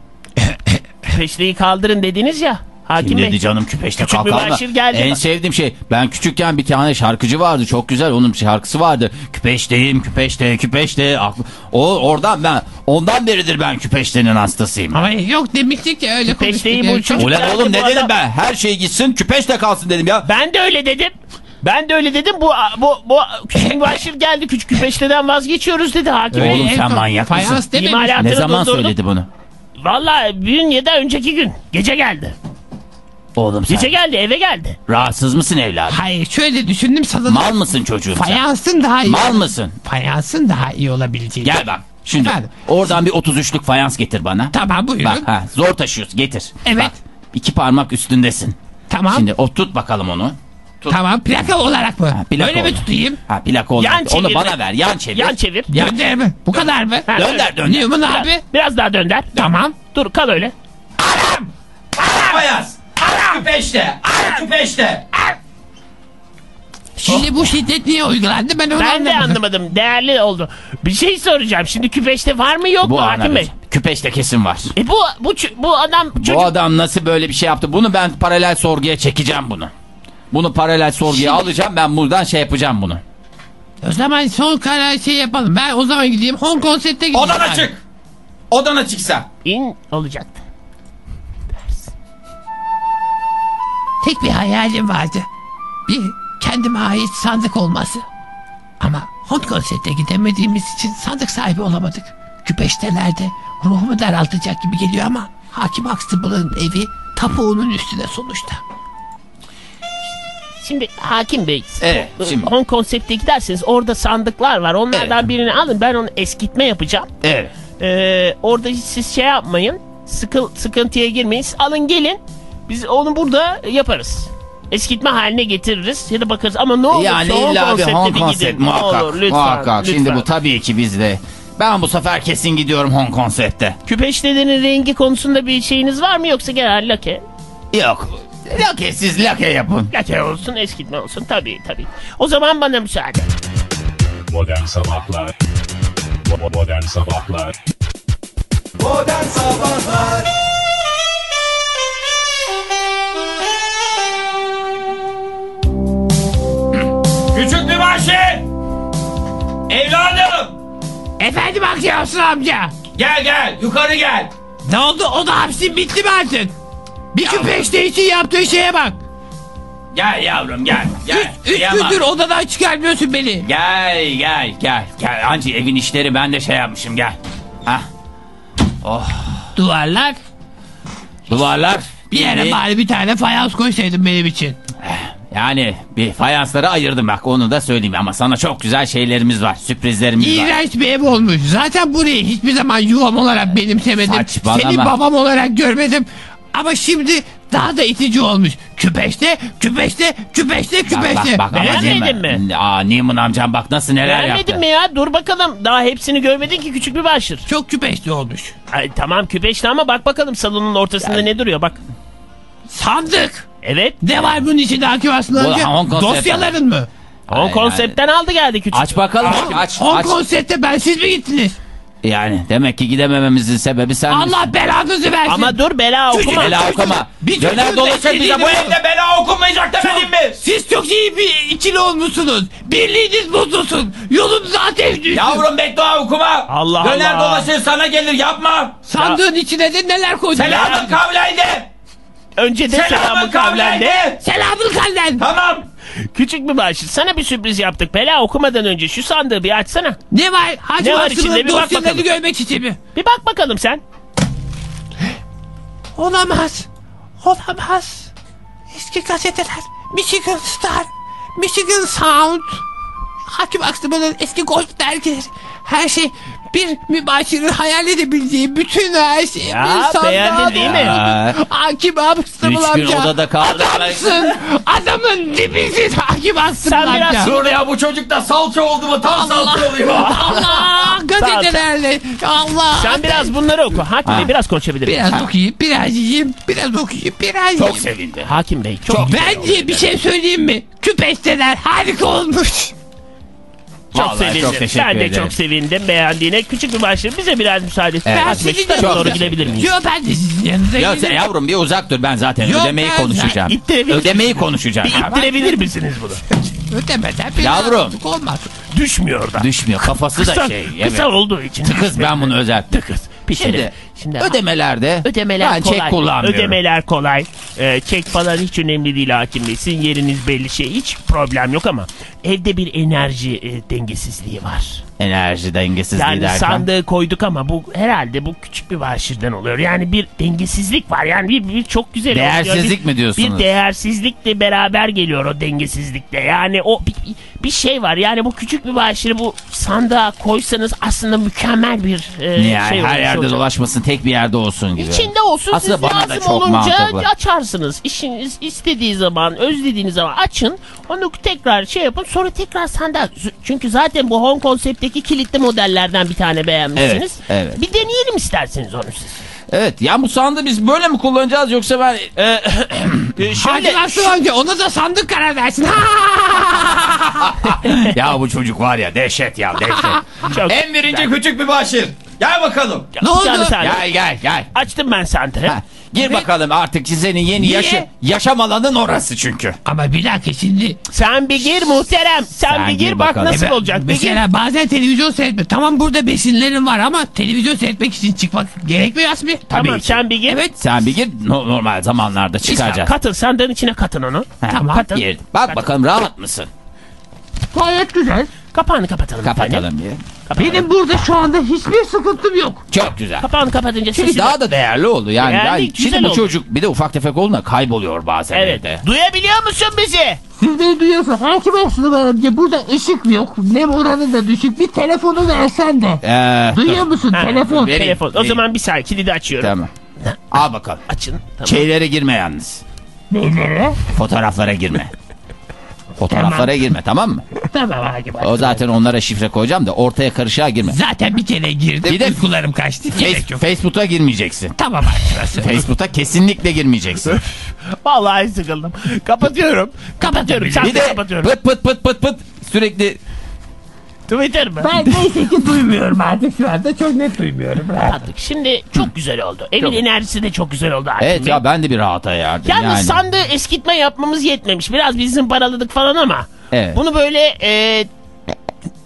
Speaker 6: Küpeşteyi kaldırın dediniz ya. Hakim
Speaker 7: Kim
Speaker 6: Bey.
Speaker 7: dedi canım küpeşte
Speaker 6: Küçük
Speaker 7: kalkalım da.
Speaker 6: mübaşir geldi
Speaker 7: En
Speaker 6: bak.
Speaker 7: sevdiğim şey ben küçükken bir tane şarkıcı vardı çok güzel onun şarkısı vardı. Küpeşteyim küpeşte küpeşte. Aklı- O oradan ben ondan beridir ben küpeştenin hastasıyım.
Speaker 3: Ama yok demiştik ki öyle konuştuk.
Speaker 6: Küpeşteyi bu
Speaker 3: Yani
Speaker 6: çocuk-
Speaker 7: Ulan
Speaker 6: Güzeldi
Speaker 7: oğlum
Speaker 6: bu
Speaker 7: ne dedim
Speaker 6: adam.
Speaker 7: ben her şey gitsin küpeşte kalsın dedim ya.
Speaker 6: Ben de öyle dedim. Ben de öyle dedim. Bu bu bu küçük mübaşir geldi. Küçük küpeşteden vazgeçiyoruz dedi hakim.
Speaker 3: Öyle
Speaker 6: Bey.
Speaker 7: Oğlum
Speaker 3: en
Speaker 7: sen
Speaker 3: son
Speaker 7: manyak mısın?
Speaker 3: Fayans dememiş.
Speaker 6: İmalat-
Speaker 7: Ne zaman
Speaker 6: Durdurdum.
Speaker 7: söyledi bunu?
Speaker 6: Vallahi bir gün ya da önceki gün gece geldi.
Speaker 7: Oğlum sen
Speaker 6: Gece geldi, eve geldi.
Speaker 7: rahatsız mısın evladım?
Speaker 3: Hayır şöyle düşündüm sana.
Speaker 7: Mal mısın çocuğum sen?
Speaker 3: Fayansın daha iyi.
Speaker 7: Mal mısın?
Speaker 3: Fayansın daha iyi olabileceği.
Speaker 7: Gel bak. Şimdi
Speaker 3: Efendim?
Speaker 7: oradan bir 33'lük fayans getir bana.
Speaker 3: Tamam buyurun.
Speaker 7: Bak ha, zor taşıyorsun getir.
Speaker 3: Evet.
Speaker 7: Bak, iki parmak üstündesin.
Speaker 3: tamam.
Speaker 7: Şimdi o tut bakalım onu.
Speaker 3: Tamam plaka olarak mı?
Speaker 7: Ha, plaka
Speaker 3: Öyle mi
Speaker 7: olarak.
Speaker 3: tutayım?
Speaker 7: Ha plaka olarak.
Speaker 6: Yan çevir.
Speaker 7: Onu bana ver yan çevir.
Speaker 6: Yan çevir.
Speaker 3: Dönder mi? Bu kadar mı?
Speaker 7: Dönder dönder.
Speaker 3: Newman abi.
Speaker 6: Biraz daha dönder.
Speaker 3: Tamam.
Speaker 6: Dur kal öyle.
Speaker 7: Fayans. Küpeşte. Küpeşte. Oh.
Speaker 3: Şimdi bu şiddet niye uygulandı ben onu
Speaker 6: Ben de
Speaker 3: anlamadım.
Speaker 6: anlamadım. Değerli oldu. Bir şey soracağım. Şimdi küpeşte var mı yok
Speaker 7: Bu
Speaker 6: mu hakim
Speaker 7: ana
Speaker 6: bey?
Speaker 7: küpeşte kesin var.
Speaker 6: E bu bu ç- bu adam çocuk
Speaker 7: Bu adam nasıl böyle bir şey yaptı? Bunu ben paralel sorguya çekeceğim bunu. Bunu paralel sorguya alacağım ben buradan şey yapacağım bunu.
Speaker 3: O zaman son karar şey yapalım. Ben o zaman gideyim Hong Kong sette gideyim.
Speaker 7: Odana
Speaker 3: abi.
Speaker 7: çık. Odana çıksa.
Speaker 6: in olacaktı.
Speaker 3: Tek bir hayalim vardı. Bir kendime ait sandık olması. Ama Hong Kong sette gidemediğimiz için sandık sahibi olamadık. Küpeştelerde ruhumu daraltacak gibi geliyor ama Hakim Huxtable'ın evi tapuğunun üstüne sonuçta.
Speaker 6: Şimdi hakim bey.
Speaker 7: Evet,
Speaker 6: e,
Speaker 7: şimdi.
Speaker 6: Hong konsepte giderseniz orada sandıklar var. Onlardan birini alın. Ben onu eskitme yapacağım.
Speaker 7: Evet.
Speaker 6: Ee, orada hiç siz şey yapmayın. Sıkıl, sıkıntıya girmeyin. Siz Alın gelin. Biz onu burada yaparız. Eskitme haline getiririz ya da bakarız ama ne olur
Speaker 7: Yani
Speaker 6: Hong
Speaker 7: illa bir
Speaker 6: konsepte
Speaker 7: Hong
Speaker 6: de
Speaker 7: Kong
Speaker 6: gidin.
Speaker 7: set
Speaker 6: Ne
Speaker 7: muhakkak.
Speaker 6: olur, lütfen,
Speaker 7: muhakkak.
Speaker 6: lütfen.
Speaker 7: Şimdi bu tabii ki bizde. Ben bu sefer kesin gidiyorum Hong Kong sette.
Speaker 6: Küpeşlerin rengi konusunda bir şeyiniz var mı yoksa genel lake?
Speaker 7: Yok. Lake siz lake yapın.
Speaker 6: Lake olsun eskitme olsun tabii tabii. O zaman bana müsaade.
Speaker 1: Modern Sabahlar Modern Sabahlar
Speaker 8: Küçük
Speaker 7: şey?
Speaker 8: Mübaşir! Evladım!
Speaker 3: Efendim Akyavsun amca.
Speaker 8: Gel gel yukarı gel.
Speaker 3: Ne oldu? O da hapsin bitti mi artık? Bir küpeşte için yaptığı şeye bak.
Speaker 7: Gel yavrum gel. Gel.
Speaker 3: Üç, üç
Speaker 7: Kıyamam.
Speaker 3: gündür odadan çıkarmıyorsun beni.
Speaker 7: Gel gel gel. Gel anca evin işleri ben de şey yapmışım gel. Hah.
Speaker 3: Duvarlar.
Speaker 7: Duvarlar.
Speaker 3: Bir yere bari bir tane fayans koysaydın benim için.
Speaker 7: Yani bir fayansları ayırdım bak onu da söyleyeyim ama sana çok güzel şeylerimiz var. Sürprizlerimiz var.
Speaker 3: İğrenç bir ev olmuş. Zaten burayı hiçbir zaman yuvam olarak benimsemedim.
Speaker 7: Saçmalama.
Speaker 3: Seni babam olarak görmedim. Ama şimdi daha da itici olmuş. Küpeşte, küpeşte, küpeşte,
Speaker 7: Bak bak
Speaker 3: küpeşte.
Speaker 7: bak. ama
Speaker 6: Beğenmedin
Speaker 7: Neyman-
Speaker 6: mi?
Speaker 7: Aa Neiman amcam bak nasıl neler yaptı.
Speaker 6: Vermedin mi ya? Dur bakalım. Daha hepsini görmedin ki küçük bir başır.
Speaker 3: Çok küpeşte olmuş.
Speaker 6: Ay, tamam küpeşli ama bak bakalım salonun ortasında ne duruyor bak.
Speaker 3: Sandık.
Speaker 6: Evet.
Speaker 3: Ne var bunun içinde Akif Aslan
Speaker 7: Bu
Speaker 3: amca?
Speaker 7: Hong Kong
Speaker 3: Dosyaların mı?
Speaker 6: O
Speaker 7: Ay,
Speaker 6: konseptten aldı geldi küçük.
Speaker 7: Aç bakalım aç
Speaker 3: Hong
Speaker 7: aç.
Speaker 3: Kong sette bensiz mi gittiniz?
Speaker 7: Yani demek ki gidemememizin sebebi sen misin?
Speaker 3: Allah belanızı versin.
Speaker 6: Ama dur bela
Speaker 3: Çocuk-
Speaker 6: okuma.
Speaker 7: Bela okuma.
Speaker 3: Bir
Speaker 7: Döner
Speaker 3: çocuğun
Speaker 7: dolaşır bize
Speaker 3: beklediğini
Speaker 7: bu
Speaker 3: bul.
Speaker 7: evde bela okunmayacak demedim mi?
Speaker 3: Siz çok iyi bir ikili olmuşsunuz. Birliğiniz mutlusun. Yolunuz ateş düşsün.
Speaker 7: Yavrum beddua okuma.
Speaker 6: Allah
Speaker 7: Döner
Speaker 6: Allah.
Speaker 7: dolaşır sana gelir yapma.
Speaker 3: Sandığın içine de neler koydun?
Speaker 7: Selamın kavlaydı.
Speaker 6: Önce de selamı
Speaker 7: Selamın
Speaker 6: kavlendi.
Speaker 7: kavlaydı.
Speaker 3: Selamın kalden.
Speaker 7: Tamam.
Speaker 6: Küçük bir başır. Sana bir sürpriz yaptık. Bela okumadan önce şu sandığı bir açsana.
Speaker 3: Ne var? Hacı
Speaker 6: Ne var
Speaker 3: Basın'ın
Speaker 6: içinde? Bir bak
Speaker 3: dosyalarını
Speaker 6: bakalım.
Speaker 3: görmek için mi?
Speaker 6: Bir bak bakalım sen.
Speaker 3: Olamaz. Olamaz. Eski gazeteler. Michigan Star. Michigan Sound. Hakim Aksım'ın eski golf dergileri. Her şey bir mübaşirin hayal edebildiği bütün her şey.
Speaker 6: Ya,
Speaker 3: bir sandığa
Speaker 6: beğendin değil mi?
Speaker 3: doldurdu. Hakim Aksım'ın
Speaker 7: Üç gün
Speaker 3: amca.
Speaker 7: odada kaldım.
Speaker 3: Adamsın. Adamın dibisin Hakim Aksım'ın
Speaker 6: Sen
Speaker 3: amca.
Speaker 6: biraz
Speaker 7: Dur ya bu çocukta salça oldu mu tam salça oluyor.
Speaker 3: Allah gazetelerle. Allah.
Speaker 6: Sen biraz bunları oku. Hakim Bey biraz konuşabilir miyim?
Speaker 3: Biraz okuyayım, biraz yiyeyim, biraz okuyayım, biraz yiyeyim.
Speaker 7: sevindi.
Speaker 6: Hakim Bey çok, çok,
Speaker 3: Bence bir şey söyleyeyim mi? Küpeşteler harika olmuş.
Speaker 7: Vallahi
Speaker 6: sevindim.
Speaker 7: çok teşekkür
Speaker 6: ben de
Speaker 7: ederim.
Speaker 6: çok sevindim beğendiğine. Küçük bir başır. Bize biraz müsaade et.
Speaker 3: Ben
Speaker 6: Hakim Bey şu
Speaker 3: sizin
Speaker 6: tarafa
Speaker 3: yanınıza-
Speaker 6: doğru gidebilir miyim?
Speaker 3: Yo ben de sizin yanınıza
Speaker 7: Ya sen
Speaker 3: giderim.
Speaker 7: yavrum bir uzak dur ben zaten
Speaker 3: Yok,
Speaker 7: ödemeyi
Speaker 3: ben-
Speaker 7: konuşacağım.
Speaker 6: İttirebilir
Speaker 7: Ödemeyi konuşacağım.
Speaker 6: Bir ittirebilir misiniz bunu?
Speaker 3: Ödemeden bir
Speaker 7: Yavrum.
Speaker 3: rahatlık olmaz.
Speaker 6: Düşmüyor da.
Speaker 7: Düşmüyor kafası da
Speaker 6: Kısa,
Speaker 7: şey.
Speaker 6: kısa
Speaker 7: evet.
Speaker 6: olduğu için.
Speaker 7: Tıkız ben bunu özel. Tıkız.
Speaker 6: pişirir.
Speaker 2: Şimdi,
Speaker 6: Şimdi
Speaker 2: ödemelerde
Speaker 6: Ödemeler
Speaker 2: ben
Speaker 6: kolay.
Speaker 2: çek kullanmıyorum.
Speaker 6: Ödemeler kolay. Ee, çek falan hiç önemli değil hakim bey. Sizin yeriniz belli şey hiç problem yok ama evde bir enerji e, dengesizliği var.
Speaker 2: Enerji dengesizliği
Speaker 6: Yani
Speaker 2: derken.
Speaker 6: sandığı koyduk ama bu herhalde bu küçük bir vahşirden oluyor. Yani bir dengesizlik var. Yani bir, bir çok güzel oluyor.
Speaker 2: Değersizlik
Speaker 6: Bir-
Speaker 2: mi diyorsunuz?
Speaker 6: Bir değersizlikle beraber geliyor o dengesizlikle. Yani o bir, bir şey var. Yani bu küçük bir vahşiri bu sandığa koysanız aslında mükemmel bir e,
Speaker 2: yani
Speaker 6: şey
Speaker 2: her
Speaker 6: olmuş
Speaker 2: yerde
Speaker 6: olacak.
Speaker 2: dolaşmasın tek bir yerde olsun gibi.
Speaker 6: İçinde olsun
Speaker 2: Aslında
Speaker 6: siz
Speaker 2: bana da
Speaker 6: lazım
Speaker 2: çok
Speaker 6: olunca
Speaker 2: mantıklı.
Speaker 6: açarsınız. İşiniz istediği zaman, özlediğiniz zaman açın. Onu tekrar şey yapın. Sonra tekrar sandığa. Z- Çünkü zaten bu Hong konseptteki kilitli modellerden bir tane beğenmişsiniz.
Speaker 2: Evet, evet.
Speaker 6: Bir deneyelim isterseniz onu siz.
Speaker 2: Evet ya bu sandığı biz böyle mi kullanacağız yoksa ben e, e, şöyle
Speaker 3: Hadi Aslı önce ona da sandık karar versin.
Speaker 2: ya bu çocuk var ya dehşet ya dehşet.
Speaker 6: Çok-
Speaker 2: en birinci küçük bir başır. Gel bakalım.
Speaker 6: Ne oldu?
Speaker 2: Gel gel gel.
Speaker 6: Açtım ben sandığı.
Speaker 2: Ha, gir bakalım artık senin yeni
Speaker 3: Niye?
Speaker 2: yaşı, yaşam alanın orası çünkü.
Speaker 3: Ama bir dakika şimdi
Speaker 6: Sen bir gir muhterem. Sen,
Speaker 2: Sen
Speaker 6: bir
Speaker 2: gir
Speaker 6: gir, bak
Speaker 2: bakalım.
Speaker 6: nasıl
Speaker 3: E ben-
Speaker 6: olacak. Bir gir.
Speaker 3: Mesela bazen televizyon seyretme. Tamam burada besinlerim var ama televizyon seyretmek için çıkmak gerekmiyor Asmi.
Speaker 6: Tamam sen bir gir.
Speaker 3: Evet.
Speaker 2: Sen bir gir no- normal zamanlarda çıkacağız.
Speaker 6: Katıl sandığın içine katın onu.
Speaker 2: Ha,
Speaker 3: tamam.
Speaker 2: katıl. Gir. Bak bakalım rahat mısın?
Speaker 3: Gayet güzel.
Speaker 6: Kapağını kapatalım. efendim.
Speaker 2: Kapatalım bir.
Speaker 6: Kapatalım.
Speaker 3: Benim burada şu anda hiçbir sıkıntım yok.
Speaker 2: Çok güzel.
Speaker 6: Kapağını kapatınca
Speaker 2: Çünkü
Speaker 6: sesi
Speaker 2: daha da değerli oldu yani.
Speaker 6: Değerli,
Speaker 2: yani
Speaker 6: güzel
Speaker 2: şimdi bu
Speaker 6: oldu.
Speaker 2: çocuk bir de ufak tefek olduğunda kayboluyor bazen evde.
Speaker 6: Evet. Duyabiliyor musun bizi?
Speaker 3: Siz de duyuyorsunuz. Hakim olsun önce burada ışık yok. Nem oranı da düşük. Bir telefonu versen de.
Speaker 2: Ee,
Speaker 3: Duyuyor musun?
Speaker 6: Ha,
Speaker 3: Telefon.
Speaker 2: vereyim,
Speaker 6: Telefon. O
Speaker 2: vereyim.
Speaker 6: zaman bir saniye kilidi açıyorum.
Speaker 2: Tamam. Al bakalım.
Speaker 6: Açın. Tamam.
Speaker 2: Şeylere girme yalnız.
Speaker 3: Neylere?
Speaker 2: Fotoğraflara girme. Fotoğraflara girme tamam mı?
Speaker 3: Tamam Hakim
Speaker 2: O
Speaker 3: olsun.
Speaker 2: zaten onlara şifre koyacağım da ortaya karışığa girme.
Speaker 3: Zaten bir kere girdim.
Speaker 2: Bir de-
Speaker 3: Uykularım kaçtı. Gerek
Speaker 2: Face-
Speaker 3: yok.
Speaker 2: Facebook'a girmeyeceksin.
Speaker 3: Tamam Hakim olsun.
Speaker 2: Facebook'a kesinlikle girmeyeceksin.
Speaker 6: Vallahi sıkıldım. Kapatıyorum. Kapatıyorum. Sen
Speaker 2: Bir
Speaker 6: de
Speaker 2: de
Speaker 6: kapatıyorum.
Speaker 2: pıt pıt pıt pıt pıt sürekli
Speaker 6: Twitter mı?
Speaker 3: Ben neyse ki duymuyorum artık şu anda. Çok net duymuyorum.
Speaker 6: Kapadık. Şimdi çok güzel oldu. Evin enerjisi de çok güzel oldu. Hakim
Speaker 2: Evet
Speaker 6: Bey.
Speaker 2: ya ben de bir rahata yardım
Speaker 6: Yalnız
Speaker 2: yani.
Speaker 6: sandığı eskitme yapmamız yetmemiş. Biraz bizim paraladık falan ama.
Speaker 2: Evet.
Speaker 6: Bunu böyle e,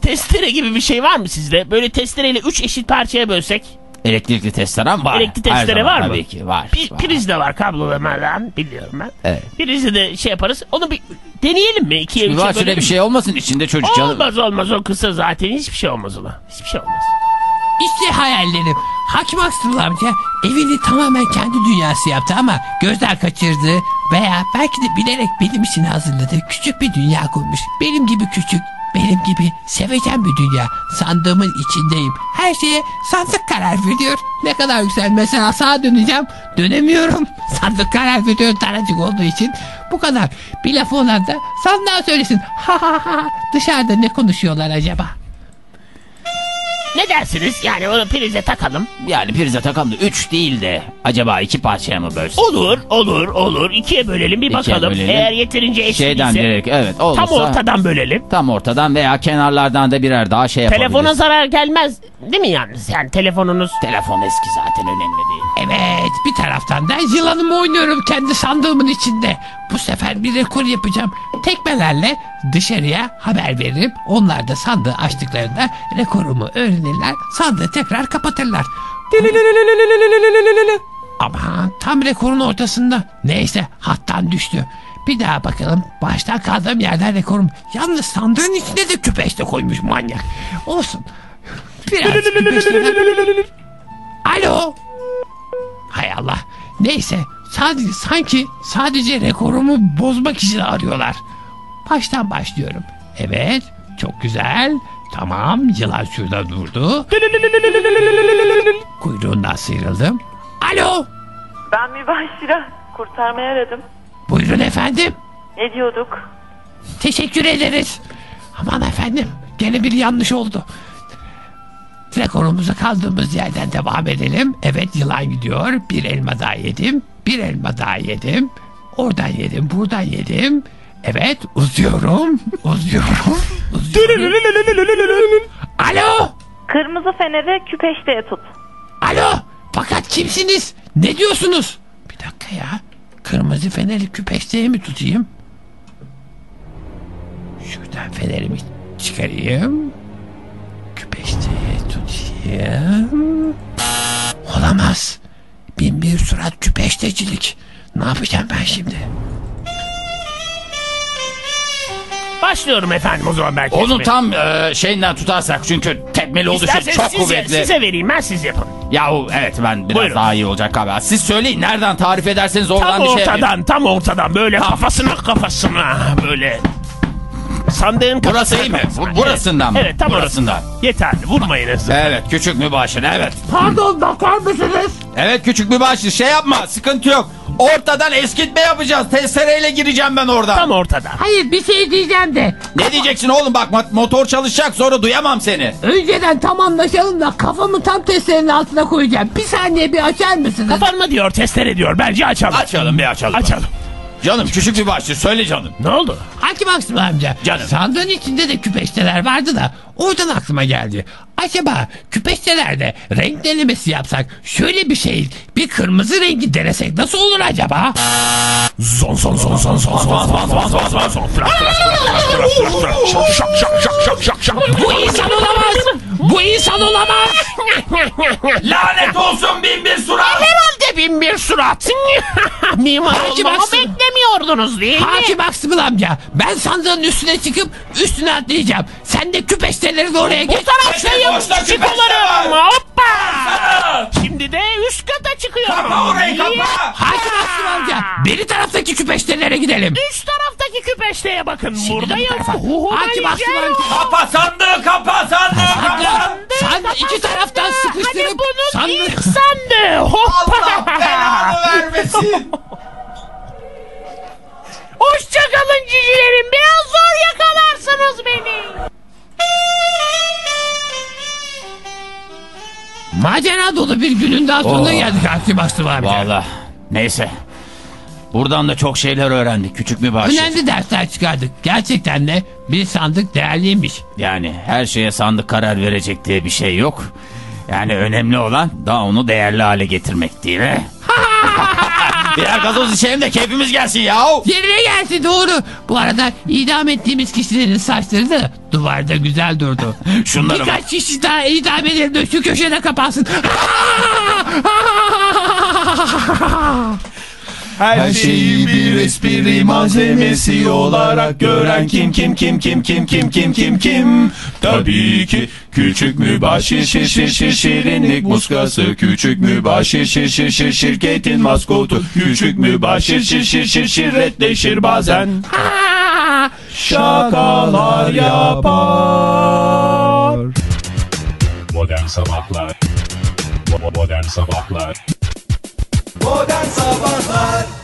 Speaker 6: testere gibi bir şey var mı sizde? Böyle testereyle 3 eşit parçaya bölsek.
Speaker 2: Elektrikli testere var.
Speaker 6: Elektrikli
Speaker 2: Her
Speaker 6: testere
Speaker 2: zaman
Speaker 6: var mı?
Speaker 2: Tabii ki var.
Speaker 6: Bir,
Speaker 2: var.
Speaker 6: priz de var kablolamadan biliyorum ben.
Speaker 2: Evet.
Speaker 6: Prizi de şey yaparız. Onu bir deneyelim mi? İkiye
Speaker 2: Bir
Speaker 6: üçe
Speaker 2: var şöyle
Speaker 6: bölelim
Speaker 2: bir
Speaker 6: mi?
Speaker 2: şey olmasın içinde çocuk canım.
Speaker 6: Olmaz olmaz o kısa zaten hiçbir şey olmaz ona. Hiçbir şey olmaz.
Speaker 3: İşte hayallerim. Hakim Aksırıl amca evini tamamen kendi dünyası yaptı ama gözler kaçırdı veya belki de bilerek benim için hazırladığı küçük bir dünya kurmuş. Benim gibi küçük, benim gibi sevecen bir dünya. Sandığımın içindeyim. Her şeye sandık karar veriyor. Ne kadar güzel. Mesela sağa döneceğim. Dönemiyorum. Sandık karar veriyor daracık olduğu için. Bu kadar. Bir lafı olan da sandığa söylesin. Ha ha ha. Dışarıda ne konuşuyorlar acaba?
Speaker 6: Ne dersiniz? Yani onu prize takalım.
Speaker 2: Yani prize takam da 3 değil de acaba 2 parçaya mı bölsün?
Speaker 6: Olur, olur, olur. İkiye bölelim bir
Speaker 2: İkiye
Speaker 6: bakalım.
Speaker 2: bölelim.
Speaker 6: Eğer yeterince eşit
Speaker 2: Şeyden
Speaker 6: ise
Speaker 2: direkt evet
Speaker 6: tam
Speaker 2: olursa
Speaker 6: ortadan bölelim.
Speaker 2: tam ortadan veya kenarlardan da birer daha şey yapabiliriz.
Speaker 6: Telefona zarar gelmez değil mi yalnız? Yani telefonunuz...
Speaker 2: Telefon eski zaten önemli değil.
Speaker 3: Evet bir taraftan da yılanımı oynuyorum kendi sandığımın içinde. Bu sefer bir rekor yapacağım. Tekmelerle dışarıya haber veririm. Onlar da sandığı açtıklarında rekorumu öğrenirler. Sandığı tekrar kapatırlar. Aman tam rekorun ortasında. Neyse hattan düştü. Bir daha bakalım. Baştan kaldığım yerden rekorum. Yalnız sandığın içine de küpeş de koymuş manyak. Olsun. Biraz küpeşle- Alo. Hay Allah. Neyse sadece sanki sadece rekorumu bozmak için arıyorlar. Baştan başlıyorum. Evet çok güzel. Tamam yılan şurada durdu. Kuyruğundan sıyrıldım. Alo.
Speaker 9: Ben mübaşire kurtarmaya aradım.
Speaker 3: Buyurun efendim.
Speaker 9: Ne diyorduk?
Speaker 3: Teşekkür ederiz. Aman efendim gene bir yanlış oldu. Rekorumuza kaldığımız yerden devam edelim. Evet yılan gidiyor. Bir elma daha yedim. Bir elma daha yedim. Oradan yedim, buradan yedim. Evet uzuyorum, uzuyorum, uzuyorum. Alo,
Speaker 9: Kırmızı feneri küpeşteye tut.
Speaker 3: alo. Fakat kimsiniz? Ne diyorsunuz? Bir dakika ya. Kırmızı feneri küpeşteye mi tutayım? Şuradan fenerimi çıkarayım. Küpeşteye tutayım. Olamaz. Bin bir surat küpeştecilik. Ne yapacağım ben şimdi?
Speaker 6: Başlıyorum efendim o zaman belki.
Speaker 2: Onu tam e, şeyinden tutarsak çünkü tepmeli oldu şu
Speaker 6: İsterseniz
Speaker 2: çok
Speaker 6: size,
Speaker 2: kuvvetli.
Speaker 6: size vereyim ben siz yapın.
Speaker 2: Yahu evet ben biraz
Speaker 6: Buyurun.
Speaker 2: daha iyi olacak abi. Siz söyleyin nereden tarif ederseniz oradan
Speaker 6: Tam
Speaker 2: bir şey yapayım.
Speaker 6: ortadan tam ortadan böyle kafasına kafasına böyle. Sandığın kafasına
Speaker 2: Burası iyi mi?
Speaker 6: kafasına.
Speaker 2: Bu- burasından mı?
Speaker 6: Evet tam
Speaker 2: Burasından.
Speaker 6: orasından. Yeterli vurmayınız.
Speaker 2: Evet küçük mübaşir evet.
Speaker 3: Pardon bakar mısınız?
Speaker 2: Evet küçük mübaşir şey yapma sıkıntı yok. Ortadan eskitme yapacağız. Testereyle gireceğim ben oradan.
Speaker 6: Tam ortadan.
Speaker 3: Hayır bir şey diyeceğim de.
Speaker 2: Ne diyeceksin oğlum bak mo- motor çalışacak sonra duyamam seni.
Speaker 3: Önceden tam anlaşalım da kafamı tam testlerin altına koyacağım. Bir saniye bir açar mısınız?
Speaker 6: Kafan mı diyor testere diyor bence açalım.
Speaker 2: Açalım bir açalım.
Speaker 6: Açalım.
Speaker 2: Canım küçük mübaşir söyle canım.
Speaker 6: Ne oldu?
Speaker 3: Hakim Aksım amca.
Speaker 2: Canım.
Speaker 3: Sandığın içinde de küpeşteler vardı da oradan aklıma geldi. Acaba küpeştelerde renk denemesi yapsak şöyle bir şey bir kırmızı rengi denesek nasıl olur acaba?
Speaker 6: Zon zon zon zon zon zon zon zon zon zon zon Flak, flak, flak, flak, flak, flak, flak. Şak şak şak şak şak şak şak
Speaker 3: Bu insan olamaz. Bu insan olamaz.
Speaker 2: Lanet olsun bin bir surat.
Speaker 6: Herhalde bin bir surat Mimar
Speaker 3: Hakim
Speaker 6: olmamı
Speaker 3: Aksın.
Speaker 6: beklemiyordunuz değil mi?
Speaker 3: Hakim Aksımıl amca ben sandığın üstüne çıkıp üstüne atlayacağım. Sen de küpeşteleri de oraya geç.
Speaker 6: Taraftayım
Speaker 2: Boşta küpeşte
Speaker 6: çıkılırım
Speaker 2: var.
Speaker 6: hoppa Şimdi de üst kata çıkıyorum
Speaker 2: Kapa orayı kapa.
Speaker 3: Hakim Aksım amca beri taraftaki küpeştelere gidelim.
Speaker 6: Üst taraftaki küpeşteye bakın buradayım
Speaker 3: Hakim
Speaker 6: şey
Speaker 3: Aksım amca.
Speaker 2: Kapa sandığı kapa sandığı kapa.
Speaker 3: Sen iki taraftan
Speaker 6: Hadi
Speaker 3: sıkıştırıp
Speaker 6: bunu
Speaker 3: sandığı-
Speaker 6: ilk sandı
Speaker 2: Allah
Speaker 6: hoppa
Speaker 2: belanı vermesin.
Speaker 6: Hoşçakalın cicilerim biraz zor yakalarsınız beni
Speaker 3: Macera dolu bir günün daha sonuna
Speaker 2: Oh.
Speaker 3: geldik Hakim Aksım amca.
Speaker 2: Valla neyse. Buradan da çok şeyler öğrendik küçük mübaşir.
Speaker 3: Önemli dersler çıkardık. Gerçekten de bir sandık değerliymiş.
Speaker 2: Yani her şeye sandık karar verecek diye bir şey yok. Yani önemli olan daha onu değerli hale getirmek değil mi? Birer gazoz içelim de keyfimiz gelsin yahu.
Speaker 3: Yerine gelsin doğru. Bu arada idam ettiğimiz kişilerin saçları da duvarda güzel durdu.
Speaker 2: Şunları bak.
Speaker 3: Birkaç kişi daha idam edelim de şu köşede kapansın.
Speaker 1: Her şeyi bir espri malzemesi olarak gören kim kim kim kim kim kim kim kim kim Tabii ki küçük mübaşir şir şir şir şirinlik muskası Küçük mübaşir şir şir şir şirketin maskotu Küçük mübaşir şir şir şir şirretleşir bazen Şakalar yapar
Speaker 10: Modern Sabahlar Bo- bo- Modern Sabahlar
Speaker 1: Modern Sabahlar